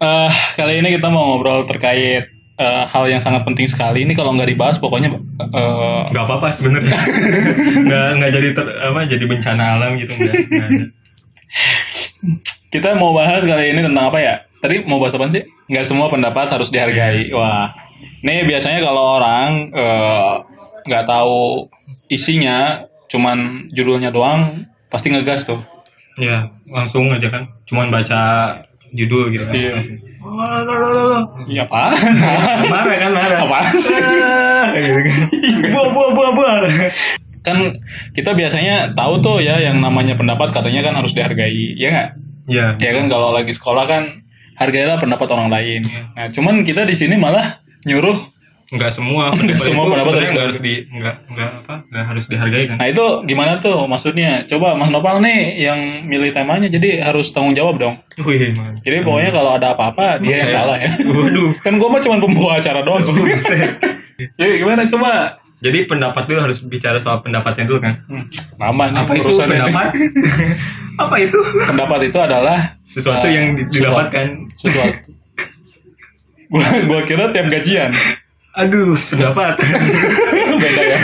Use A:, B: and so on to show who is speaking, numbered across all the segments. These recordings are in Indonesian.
A: Eh, kali ini kita mau ngobrol terkait eh, hal yang sangat penting sekali. Ini kalau nggak dibahas, pokoknya eh,
B: nggak apa-apa sebenarnya nggak nggak jadi ter, apa jadi bencana alam gitu nggak, nggak ada.
A: kita mau bahas kali ini tentang apa ya? Tadi mau bahas apa sih? Nggak semua pendapat harus dihargai. Wah, ini biasanya kalau orang eh, nggak tahu isinya, cuman judulnya doang, pasti ngegas tuh.
B: ya langsung aja kan cuman baca judul gitu kan
A: Iya.
B: Langsung. Oh, lo, lo, lo, lo.
A: Iya apa?
B: marah kan marah
A: apa?
B: Ah, gitu kan buah buah buah buah
A: Kan kita biasanya tahu tuh ya yang namanya pendapat katanya kan harus dihargai, ya nggak?
B: ya
A: ya kan kalau lagi sekolah kan hargailah pendapat orang lain. Nah, cuman kita di sini malah nyuruh.
B: nggak semua
A: Nggak semua
B: itu
A: pendapat harus
B: sebenarnya nggak harus di nggak nggak apa nggak harus dihargai kan
A: Nah, itu gimana tuh maksudnya? Coba Mas Nopal nih yang milih temanya jadi harus tanggung jawab dong.
B: wih man
A: Jadi pokoknya kalau ada apa-apa dia yang
B: Saya-
A: salah ya.
B: waduh Oh,
A: kan gua mah cuma pembawa acara doang.
B: Buset. Ya,
A: Jadi gimana coba?
B: jadi pendapat dulu harus bicara soal pendapatnya dulu kan
A: Hmm, lama nih
B: apa itu
A: urusannya.
B: pendapat apa itu
A: Pendapat itu adalah
B: sesuatu
A: Ah,
B: yang di-
A: sesuatu.
B: didapatkan
A: sesuatu. gua gua kira tiap gajian.
B: Aduh, pendapat.
A: Beda ya.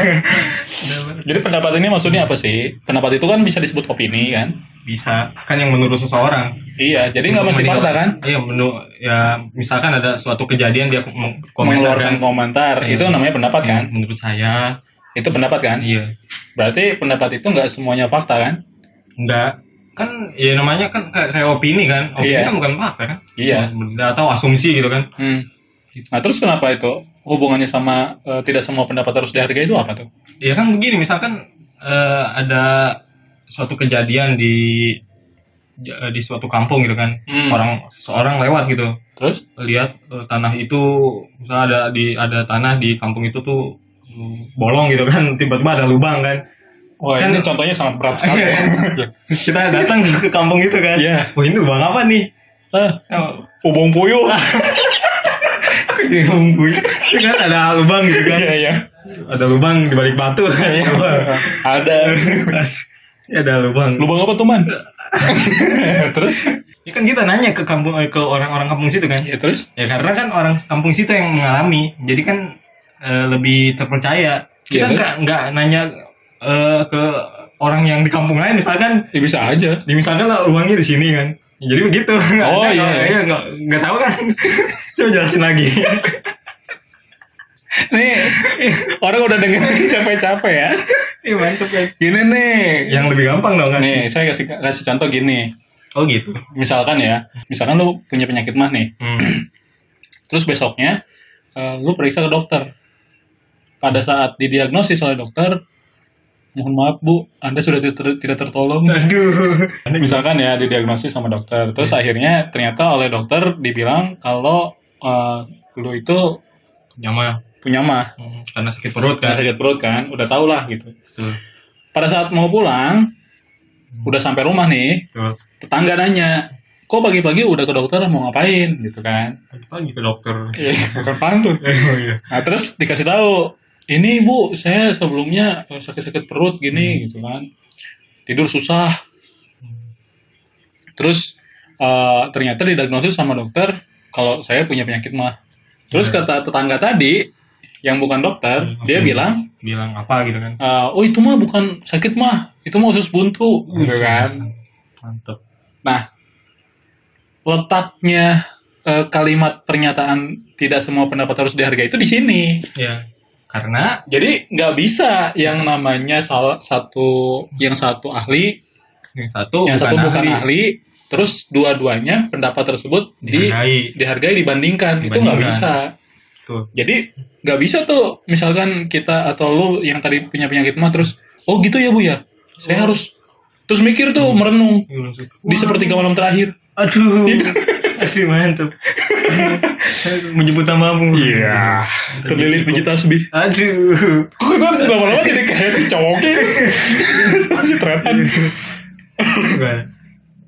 A: Jadi pendapat ini maksudnya apa sih? Pendapat itu kan bisa disebut opini kan?
B: Bisa kan yang menurut seseorang.
A: Iya, jadi nggak mesti
B: Meninggal-
A: fakta kan?
B: Iya, menurut ya misalkan ada suatu kejadian dia meng- komentar
A: Mengeluarkan
B: kan
A: komentar
B: Iya.
A: itu namanya pendapat kan?
B: menurut saya
A: Itu pendapat kan?
B: iya.
A: Berarti pendapat itu nggak semuanya fakta kan?
B: Enggak kan ya namanya kan kayak, kayak opini kan. Opini
A: Iya.
B: kan bukan fakta kan?
A: Iya.
B: Nggak Atau asumsi gitu kan.
A: Hmm. Nah terus kenapa itu hubungannya sama eh, tidak semua pendapat harus dihargai itu apa tuh?
B: Ya kan begini misalkan eh, ada suatu kejadian di di suatu kampung gitu kan.
A: Hmm.
B: Orang seorang lewat gitu.
A: Terus?
B: lihat eh, tanah itu misalnya ada di ada tanah di kampung itu tuh mm, bolong gitu kan tiba-tiba ada lubang kan
A: Wah
B: Kan-
A: ini contohnya sangat berat sekali. ya.
B: terus kita datang ke kampung itu kan
A: Iya.
B: wah ini lubang apa nih
A: Ah,
B: Oh,
A: Ubung puyuh.
B: kok jadi kampung gue? Itu kan ada lubang gitu kan
A: Iya iya.
B: ada lubang di balik batu kayaknya
A: Ada.
B: ya ada lubang
A: Lubang apa tuh man? terus?
B: ya kan kita nanya ke kampung eh, ke orang-orang kampung situ kan
A: Ya terus?
B: ya karena kan orang kampung situ yang mengalami jadi kan eh, lebih terpercaya kita
A: Iya,
B: nggak nggak nanya eh, ke orang yang di kampung lain misalkan
A: Ya bisa aja.
B: di misalkan lah uangnya di sini kan jadi begitu Ada
A: iya.
B: orang- iya nggak nggak tahu kan coba jelasin lagi
A: Nih orang udah dengerin capek-capek ya.
B: Iya, mantep kan
A: Gini nih.
B: yang lebih gampang dong kan
A: Nih saya kasih kasih contoh gini.
B: oh gitu
A: misalkan ya, misalkan lu punya penyakit mah nih,
B: Hmm.
A: terus besoknya eh, lu periksa ke dokter. Pada saat didiagnosis oleh dokter, mohon maaf bu, anda sudah tidak, tidak tertolong.
B: aduh
A: misalkan ya didiagnosis sama dokter, terus akhirnya ternyata oleh dokter dibilang kalau eh, lu itu
B: nyama
A: punya mah,
B: Hmm, karena sakit perut
A: Karena
B: kan
A: sakit perut kan, udah tau lah gitu.
B: tuh,
A: Pada saat mau pulang, udah sampai rumah nih,
B: tuh.
A: tetangga nanya, kok pagi-pagi udah ke dokter mau ngapain gitu kan?
B: pagi ke dokter
A: Iya, bukan pantun.
B: oh iya
A: Nah, terus dikasih tahu, ini Bu, saya sebelumnya eh, sakit-sakit perut gini gitu kan. Tidur susah. Terus eh, ternyata didiagnosis sama dokter kalau saya punya penyakit mah. Terus kata tetangga tadi yang bukan dokter,
B: Hmm,
A: dia
B: oke.
A: bilang,
B: bilang apa gitu kan
A: eh, "Oh, itu mah bukan sakit mah, itu mah usus buntu." Gitu kan.
B: mantep
A: Nah, letaknya eh, kalimat pernyataan tidak semua pendapat harus dihargai itu di sini.
B: ya karena
A: Jadi nggak bisa yang namanya salah satu yang satu ahli,
B: yang satu
A: Iya. yang
B: bukan
A: satu bukan ahli.
B: ahli.
A: terus dua-duanya pendapat tersebut di,
B: dihargai
A: dihargai dibandingkan. Itu nggak
B: Dibandingkan.
A: bisa.
B: tuh
A: Jadi nggak bisa tuh misalkan kita atau lu yang tadi punya penyakit mah terus oh gitu ya bu ya, saya
B: Oh.
A: harus terus mikir tuh
B: Hmm.
A: merenung di sepertiga malam terakhir.
B: aduh aduh mantap menyebut namamu
A: Iya. terlilit biji tasbih.
B: aduh
A: Kok kita lama-lama jadi kayak si cowoknya masih tretan.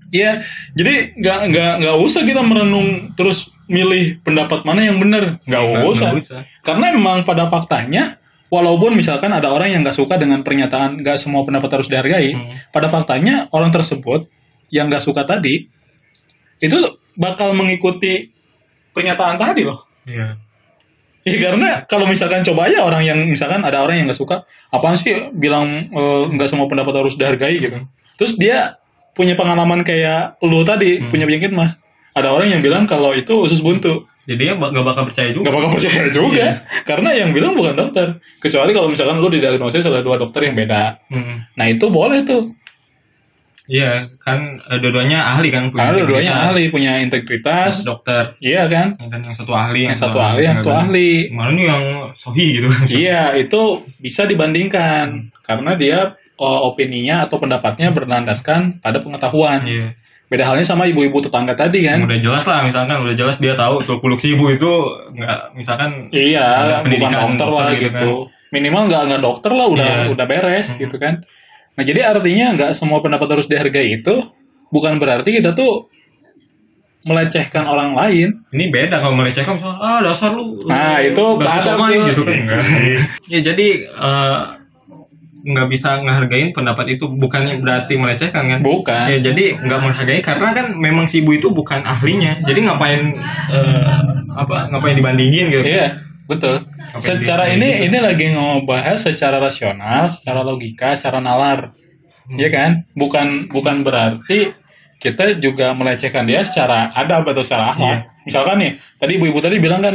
A: Iya, jadi nggak nggak nggak usah kita merenung terus milih pendapat mana yang benar, nggak
B: Iya.
A: usah. Karena emang pada faktanya, walaupun misalkan ada orang yang nggak suka dengan pernyataan nggak semua pendapat harus dihargai,
B: Hmm.
A: pada faktanya orang tersebut yang nggak suka tadi itu bakal mengikuti pernyataan tadi loh.
B: Iya.
A: Ya karena kalau misalkan coba aja orang yang misalkan ada orang yang nggak suka, apaan sih bilang eh, nggak semua pendapat harus dihargai gitu. Terus dia punya pengalaman kayak lu tadi punya penyakit mah. Ada orang yang bilang kalau itu usus buntu,
B: Jadi ya ba- nggak bakal percaya juga.
A: nggak bakal percaya juga,
B: Iya.
A: karena yang bilang bukan dokter. Kecuali kalau misalkan lu didiagnosis oleh dua dokter yang beda,
B: Hmm.
A: nah itu boleh tuh.
B: Iya, kan eh, dua-duanya ahli kan punya
A: Karena dua-duanya
B: integritas.
A: ahli punya
B: Satu
A: integritas,
B: dokter.
A: iya kan?
B: Ya kan yang satu ahli,
A: Yang satu ahli, yang
B: iya.
A: satu ahli.
B: Kemarin yang sohi gitu.
A: Iya, itu bisa dibandingkan karena dia o- opininya atau pendapatnya berlandaskan pada pengetahuan.
B: Iya.
A: Beda halnya sama ibu-ibu tetangga tadi kan.
B: Udah jelas lah misalkan udah jelas dia tahu suluk ibu itu nggak misalkan
A: Iya,
B: Ada
A: bukan
B: pendidikan
A: dokter lah
B: dokter gitu
A: gitu. Minimal nggak nggak dokter lah udah
B: Iya.
A: udah beres gitu kan. Nah jadi artinya nggak semua pendapat harus dihargai itu bukan berarti kita tuh melecehkan orang lain.
B: ini beda kalau melecehkan misalkan ah dasar lu
A: Nah,
B: lu
A: itu
B: nggak
A: ada
B: sama
A: tuh.
B: gitu kan Nggak. ya jadi eh, nggak bisa ngehargain pendapat itu bukannya berarti melecehkan kan
A: Bukan.
B: ya jadi nggak menghargai karena kan memang si ibu itu bukan ahlinya jadi ngapain eh, apa ngapain dibandingin gitu
A: Iya, betul.
B: Apa
A: secara
B: yang
A: ini ini lagi ngebahas secara rasional, secara logika, secara nalar.
B: Hmm.
A: Iya kan? Bukan bukan berarti kita juga melecehkan dia secara adab atau secara akhlak.
B: Iya.
A: Misalkan nih, tadi ibu-ibu tadi bilang kan,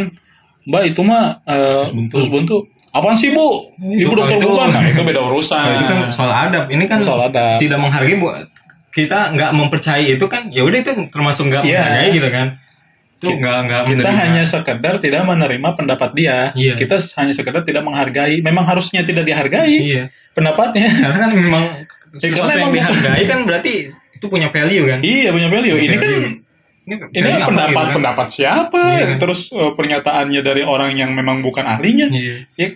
A: "Mbak, itu mah eh
B: Usus buntu."
A: terus buntu." Apaan sih, Bu?
B: Itu
A: Ibu dokter
B: kalau itu-
A: bukan. Nah, itu beda urusan.
B: Nah, itu kan soal adab ini kan
A: Ah. soal adab.
B: tidak menghargai bu kita nggak mempercayai itu kan ya udah itu termasuk nggak
A: Iya.
B: menghargai gitu kan itu nggak nggak
A: kita
B: menerima.
A: hanya sekedar tidak menerima pendapat dia.
B: Iya.
A: Kita hanya sekedar tidak menghargai. Memang harusnya tidak dihargai
B: iya
A: pendapatnya.
B: karena kan memang
A: Ya,
B: sesuatu
A: karena
B: yang
A: emang-
B: dihargai kan berarti itu punya value kan
A: iya, punya value. Ini kan
B: Value. ini,
A: ini
B: value apa
A: pendapat
B: gitu kan?
A: pendapat siapa
B: Iya.
A: terus eh, pernyataannya dari orang yang memang bukan ahlinya
B: Iya.
A: ya,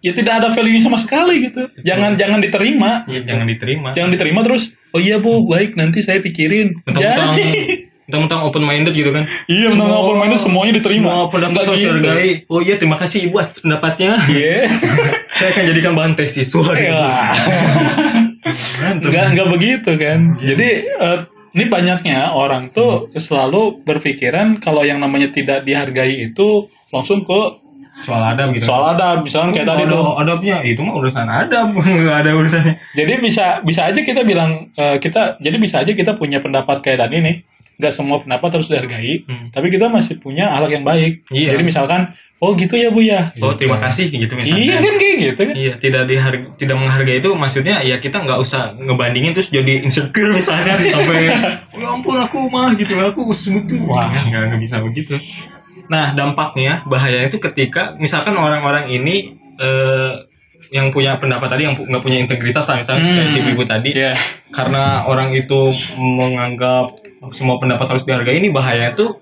A: ya tidak ada value nya sama sekali gitu jangan jangan diterima
B: Iya, jangan diterima
A: jangan diterima terus oh iya bu baik nanti saya pikirin
B: mentang-mentang
A: Ya.
B: mentang-mentang open minded gitu kan
A: iya tentang
B: Semua-
A: open minded semuanya diterima
B: semua pendapat
A: Nggak
B: harus
A: gitu.
B: dihargai oh iya terima kasih ibu atas pendapatnya
A: iya
B: saya akan jadikan bahan tes siswa gitu.
A: Elah.
B: Mantap. Iya.
A: nggak nggak begitu kan jadi eh, ini banyaknya orang tuh
B: Hmm.
A: selalu berpikiran kalau yang namanya tidak dihargai itu langsung ke
B: soal adab gitu
A: Iya. soal adab misalnya kayak tadi
B: Ada
A: tuh
B: adabnya itu mah urusan adab nggak ada urusannya
A: Jadi bisa bisa aja kita bilang eh, kita jadi bisa aja kita punya pendapat kayak tadi nih. Nggak semua pendapat harus dihargai,
B: Hmm.
A: tapi kita masih punya alat yang baik.
B: Iya.
A: Jadi misalkan, oh gitu ya bu ya.
B: oh terima kasih
A: Iya
B: gitu misalnya
A: kan kayak gitu kan.
B: Iya, tidak dihar- tidak menghargai itu maksudnya ya kita nggak usah ngebandingin terus jadi insecure misalkan sampai ya ampun aku mah gitu aku sebutu wah nggak nggak bisa begitu. Nah dampaknya bahayanya itu ketika misalkan orang-orang ini eh, yang punya pendapat tadi yang pu- nggak punya integritas lah misalnya
A: Hmm.
B: kayak si ibu tadi
A: Iya.
B: karena orang itu menganggap semua pendapat harus dihargai ini bahaya tuh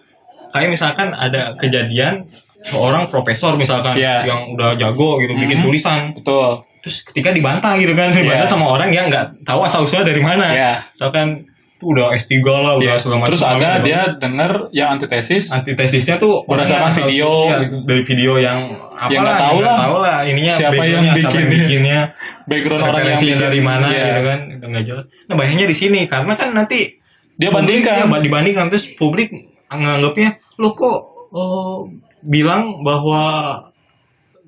B: kayak misalkan ada kejadian seorang profesor misalkan
A: Iya.
B: yang udah jago gitu
A: Mhm.
B: bikin tulisan
A: Betul.
B: terus ketika dibantah gitu kan dibantah
A: Iya.
B: sama orang yang nggak tahu asal usulnya dari mana
A: Iya.
B: misalkan tuh udah S3 lah udah
A: Iya.
B: segala macam gitu.
A: Terus ada
B: Udah-
A: dia denger yang antitesis.
B: antitesisnya tuh orang
A: Berdasarkan
B: yang asal-
A: video.
B: iya, dari video yang apa
A: Yang Ya, nggak tahu lah.
B: tahu lah ininya
A: Siapa yang
B: backgroundnya, siapa yang
A: bikinnya.
B: bikinnya
A: background orang yang
B: referensinya
A: bikin.
B: dari mana
A: Iya.
B: gitu kan udah nggak jelas nah bahayanya di sini karena kan nanti
A: Dia
B: publik-
A: bandingkan.
B: iya, dibandingkan terus publik nganggapnya lo kok eh, bilang bahwa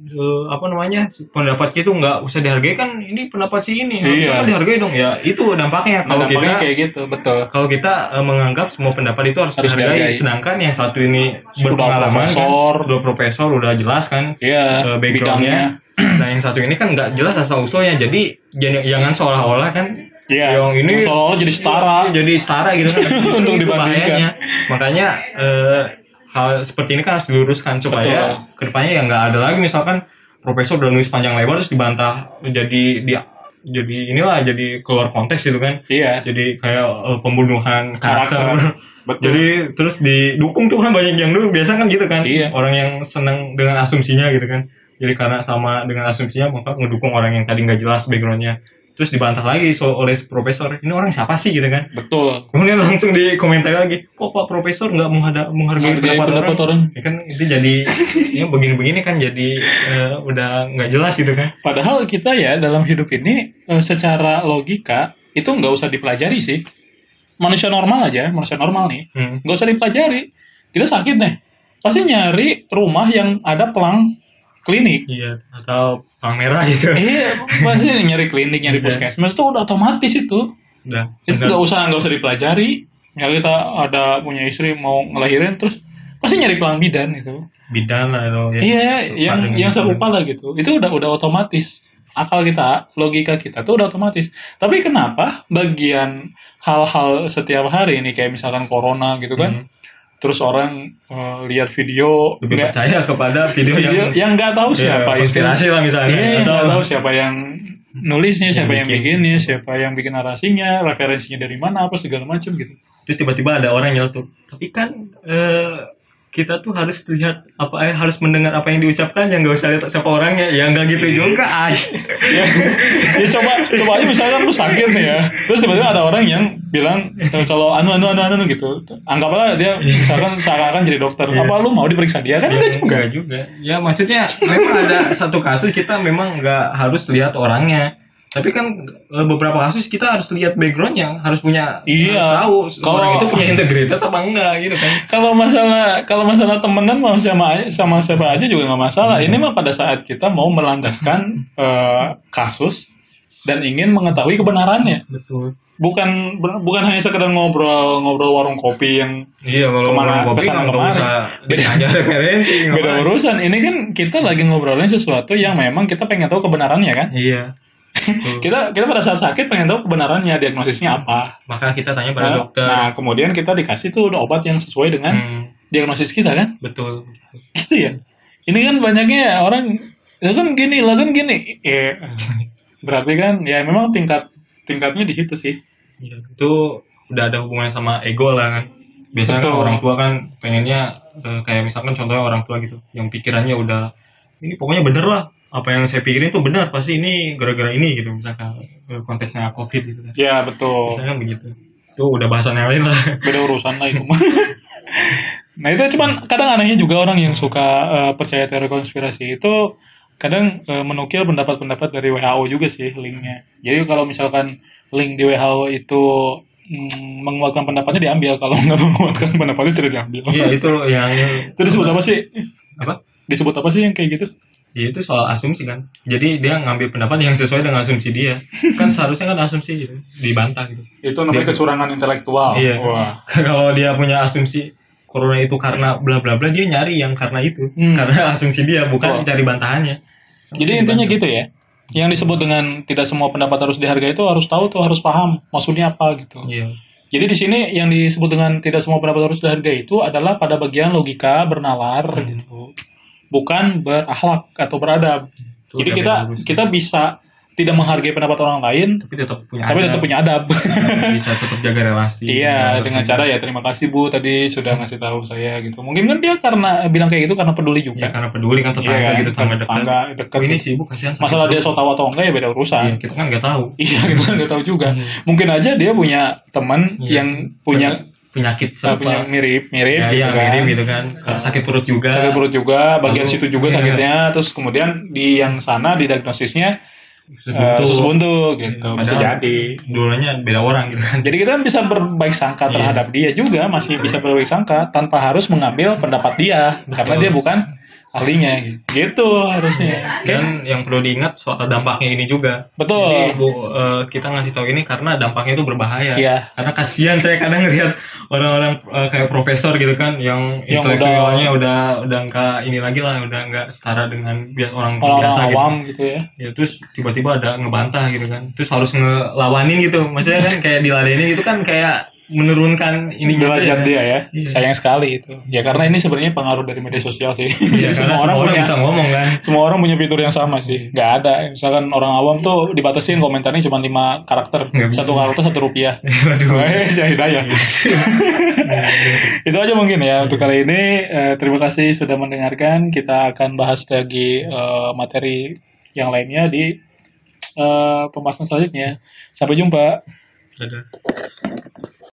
B: eh, apa namanya pendapat itu nggak usah dihargai kan ini pendapat si ini
A: Iya.
B: harusnya kan dihargai dong ya itu dampaknya
A: Kalau
B: kalau kita
A: kayak gitu, betul.
B: kalau kita eh, menganggap semua pendapat itu harus,
A: Harus
B: dihargai,
A: dihargai.
B: sedangkan yang satu ini
A: Sudah
B: berpengalaman kan,
A: profesor.
B: sudah profesor udah jelas kan
A: Iya.
B: eh,
A: bidangnya.
B: backgroundnya nah yang satu ini kan nggak jelas asal usulnya jadi jangan, jangan seolah-olah kan
A: Iya.
B: yang ini
A: seolah jadi setara.
B: Iya, jadi setara gitu kan Justru
A: Untuk
B: itu
A: dibandingkan.
B: bahayanya. makanya eh, hal seperti ini kan harus diluruskan supaya kedepannya ya nggak ada lagi misalkan profesor udah nulis panjang lebar terus dibantah jadi dia jadi inilah jadi keluar konteks gitu kan
A: Iya.
B: jadi kayak eh, pembunuhan karakter,
A: Karakter. Betul.
B: jadi terus didukung tuh kan banyak yang dulu biasa kan gitu kan
A: Iya.
B: orang yang senang dengan asumsinya gitu kan jadi karena sama dengan asumsinya maka ngedukung orang yang tadi nggak jelas backgroundnya terus dibantah lagi so- oleh profesor ini orang siapa sih gitu kan
A: Betul.
B: kemudian langsung di komentar lagi kok pak profesor nggak menghada- menghargai
A: Menghargai
B: pendapat,
A: pendapat
B: orang,
A: orang.
B: Ya kan itu jadi ya begini-begini kan jadi eh, udah nggak jelas gitu kan
A: Padahal kita ya dalam hidup ini eh, secara logika itu nggak usah dipelajari sih. Manusia normal aja, manusia normal nih,
B: Hmm.
A: nggak usah dipelajari. Kita sakit nih, pasti nyari rumah yang ada pelang klinik.
B: Iya, atau pang merah gitu.
A: Iya, pasti nyari klinik, nyari
B: Iya.
A: puskesmas itu udah otomatis itu.
B: Udah.
A: Itu
B: bener.
A: nggak usah nggak usah dipelajari. Ya kita ada punya istri mau ngelahirin terus pasti nyari pelang bidan itu.
B: bidan lah atau ya,
A: Iya,
B: serupa
A: yang
B: dengan
A: yang
B: itu.
A: serupa lah gitu. Itu udah udah otomatis. Akal kita, logika kita tuh udah otomatis. Tapi kenapa bagian hal-hal setiap hari ini kayak misalkan corona gitu kan,
B: Hmm.
A: terus orang eh, lihat video
B: lebih
A: nggak-
B: percaya kepada video,
A: video
B: yang,
A: yang nggak tahu
B: ya,
A: siapa itu.
B: konspirasi lah misalnya
A: Iya, yang
B: atau
A: nggak tahu siapa yang nulisnya, siapa yang
B: bikin.
A: bikinnya, siapa yang bikin narasinya, referensinya dari mana, apa segala macam gitu.
B: terus tiba-tiba ada orang nyeletuk tapi kan eh, kita tuh harus lihat apa eh, harus mendengar apa yang diucapkan yang nggak usah lihat siapa orangnya ya nggak
A: Iya.
B: gitu juga aja
A: ya, ya coba coba aja misalkan lu sakit nih ya terus tiba-tiba ada orang yang bilang e, kalau anu anu anu anu gitu anggaplah dia misalkan seakan-akan jadi dokter apa lu mau diperiksa dia kan enggak juga
B: Nggak juga ya maksudnya memang ada satu kasus kita memang nggak harus lihat orangnya tapi kan eh, beberapa kasus kita harus lihat backgroundnya harus punya
A: Iya.
B: harus tahu
A: Kalau-
B: orang itu punya integritas apa enggak gitu kan
A: kalau masalah kalau masalah temenan mau sama aja- sama siapa aja juga nggak masalah ini mah pada saat kita mau melandaskan eh, kasus dan ingin mengetahui kebenarannya
B: betul
A: bukan bukan hanya sekedar ngobrol ngobrol warung kopi yang
B: Iya, kalau
A: Kemana-
B: ngomong kopi
A: kesana
B: kan nggak
A: kemari.
B: usah jadi hanya referensi.
A: beda
B: ngapain.
A: urusan ini kan kita lagi ngobrolin sesuatu yang memang kita pengen tahu kebenarannya kan
B: Iya. Tuh.
A: kita kita pada saat sakit pengen tahu kebenarannya diagnosisnya apa
B: Maka kita tanya pada
A: Nah,
B: dokter.
A: nah kan? kemudian kita dikasih tuh obat yang sesuai dengan
B: Hmm,
A: diagnosis kita kan
B: betul.
A: gitu ya ini kan banyaknya orang "Lah kan gini lah kan gini Eh, berarti kan ya memang tingkat tingkatnya di situ sih
B: Iya, Itu udah ada hubungannya sama ego lah kan. Biasanya kan
A: Betul.
B: orang tua kan pengennya eh, kayak misalkan contohnya orang tua gitu, yang pikirannya udah ini pokoknya bener lah. Apa yang saya pikirin itu benar, pasti ini gara-gara ini gitu misalkan eh, konteksnya covid gitu kan.
A: ya betul
B: Biasanya begitu. Itu udah bahasan yang lain lah.
A: beda urusan lah itu mah. nah itu cuman kadang anehnya juga orang yang suka eh, percaya teori konspirasi itu kadang eh, menukil pendapat-pendapat dari WHO juga sih linknya jadi kalau misalkan link di WHO itu mm, menguatkan pendapatnya diambil kalau nggak menguatkan pendapatnya tidak diambil
B: Iya, itu yang
A: itu disebut apa sih
B: apa?
A: disebut apa sih yang kayak gitu
B: Ya itu soal asumsi kan. Jadi dia ngambil pendapat yang sesuai dengan asumsi dia. Kan seharusnya kan asumsi gitu, dibantah gitu.
A: itu namanya kecurangan intelektual
B: Iya.
A: wah
B: Kalau dia punya asumsi corona itu karena bla bla bla dia nyari yang karena itu.
A: Hmm.
B: Karena asumsi dia bukan
A: Betul.
B: cari bantahannya.
A: Jadi intinya gitu ya. Yang disebut dengan tidak semua pendapat harus dihargai itu harus tahu tuh harus paham maksudnya apa gitu.
B: Iya.
A: Jadi di sini yang disebut dengan tidak semua pendapat harus dihargai itu adalah pada bagian logika bernalar
B: Hmm.
A: gitu. Bukan berakhlak atau beradab.
B: Itu
A: Jadi
B: udah
A: kita
B: beda urusan.
A: kita bisa tidak menghargai pendapat orang lain
B: Tapi tetap punya
A: tapi
B: adab,
A: tetap punya adab.
B: bisa tetap jaga relasi.
A: Iya, dengan cara ya terima kasih Bu tadi sudah ngasih tahu saya gitu. Mungkin kan dia karena bilang kayak gitu karena peduli
B: ya
A: juga.
B: karena peduli kan tetangga
A: Iya kan,
B: gitu sama dekat.
A: tetangga, dekat.
B: Oh, ini sibuk kasihan sakit
A: Masalah dia
B: perut.
A: so tahu atau enggak ya beda urusan.
B: Iya, kita kan nggak tahu.
A: Iya kita kan nggak tahu juga. Mungkin aja dia punya teman
B: Iya.
A: yang punya
B: penyakit
A: uh, punya
B: serupa.
A: mirip mirip
B: Ya,
A: gitu
B: iya,
A: kan.
B: mirip gitu kan. Karena sakit perut juga.
A: Sakit perut juga, bagian
B: Lalu-
A: situ juga
B: iya.
A: sakitnya. Terus kemudian di yang sana di diagnosisnya
B: Usus
A: uh,
B: buntu.
A: usus buntu gitu. Bisa
B: Padahal-
A: jadi.
B: dulunya beda orang gitu kan
A: Jadi kita bisa berbaik sangka
B: Iya.
A: terhadap dia juga, masih bisa berbaik sangka tanpa harus mengambil pendapat dia karena dia bukan ahlinya gitu. Gitu harusnya. Oke?
B: dan yang perlu diingat soal dampaknya ini juga jadi
A: Betul.
B: bu, eh, kita ngasih tahu ini karena dampaknya itu berbahaya
A: Iya.
B: karena kasihan saya kadang lihat orang-orang eh, kayak profesor gitu kan yang,
A: Yang
B: intelektualnya udah udah nggak ini lagi lah udah nggak setara dengan bi- orang,
A: Orang-orang
B: biasa
A: awam
B: gitu
A: gitu ya.
B: ya terus tiba-tiba ada ngebantah gitu kan terus harus ngelawanin gitu maksudnya kan kayak diladenin itu kan kayak menurunkan ini
A: derajat dia ya.
B: Iya.
A: Sayang sekali itu. Ya karena ini sebenarnya pengaruh dari media sosial sih. Jadi
B: Iya, karena
A: semua orang, punya
B: bisa ngomong kan
A: semua orang punya fitur yang sama sih. Nggak ada. Misalkan orang awam tuh dibatasin komentarnya cuma 5 karakter.
B: Nggak bisa. Iya,
A: Satu karakter satu rupiah.
B: waduh
A: Wah, ya hidayah. itu aja mungkin ya untuk kali ini. Eh, terima kasih sudah mendengarkan. Kita akan bahas lagi eh, materi yang lainnya di eh, pembahasan selanjutnya. Sampai jumpa.
B: Dadah.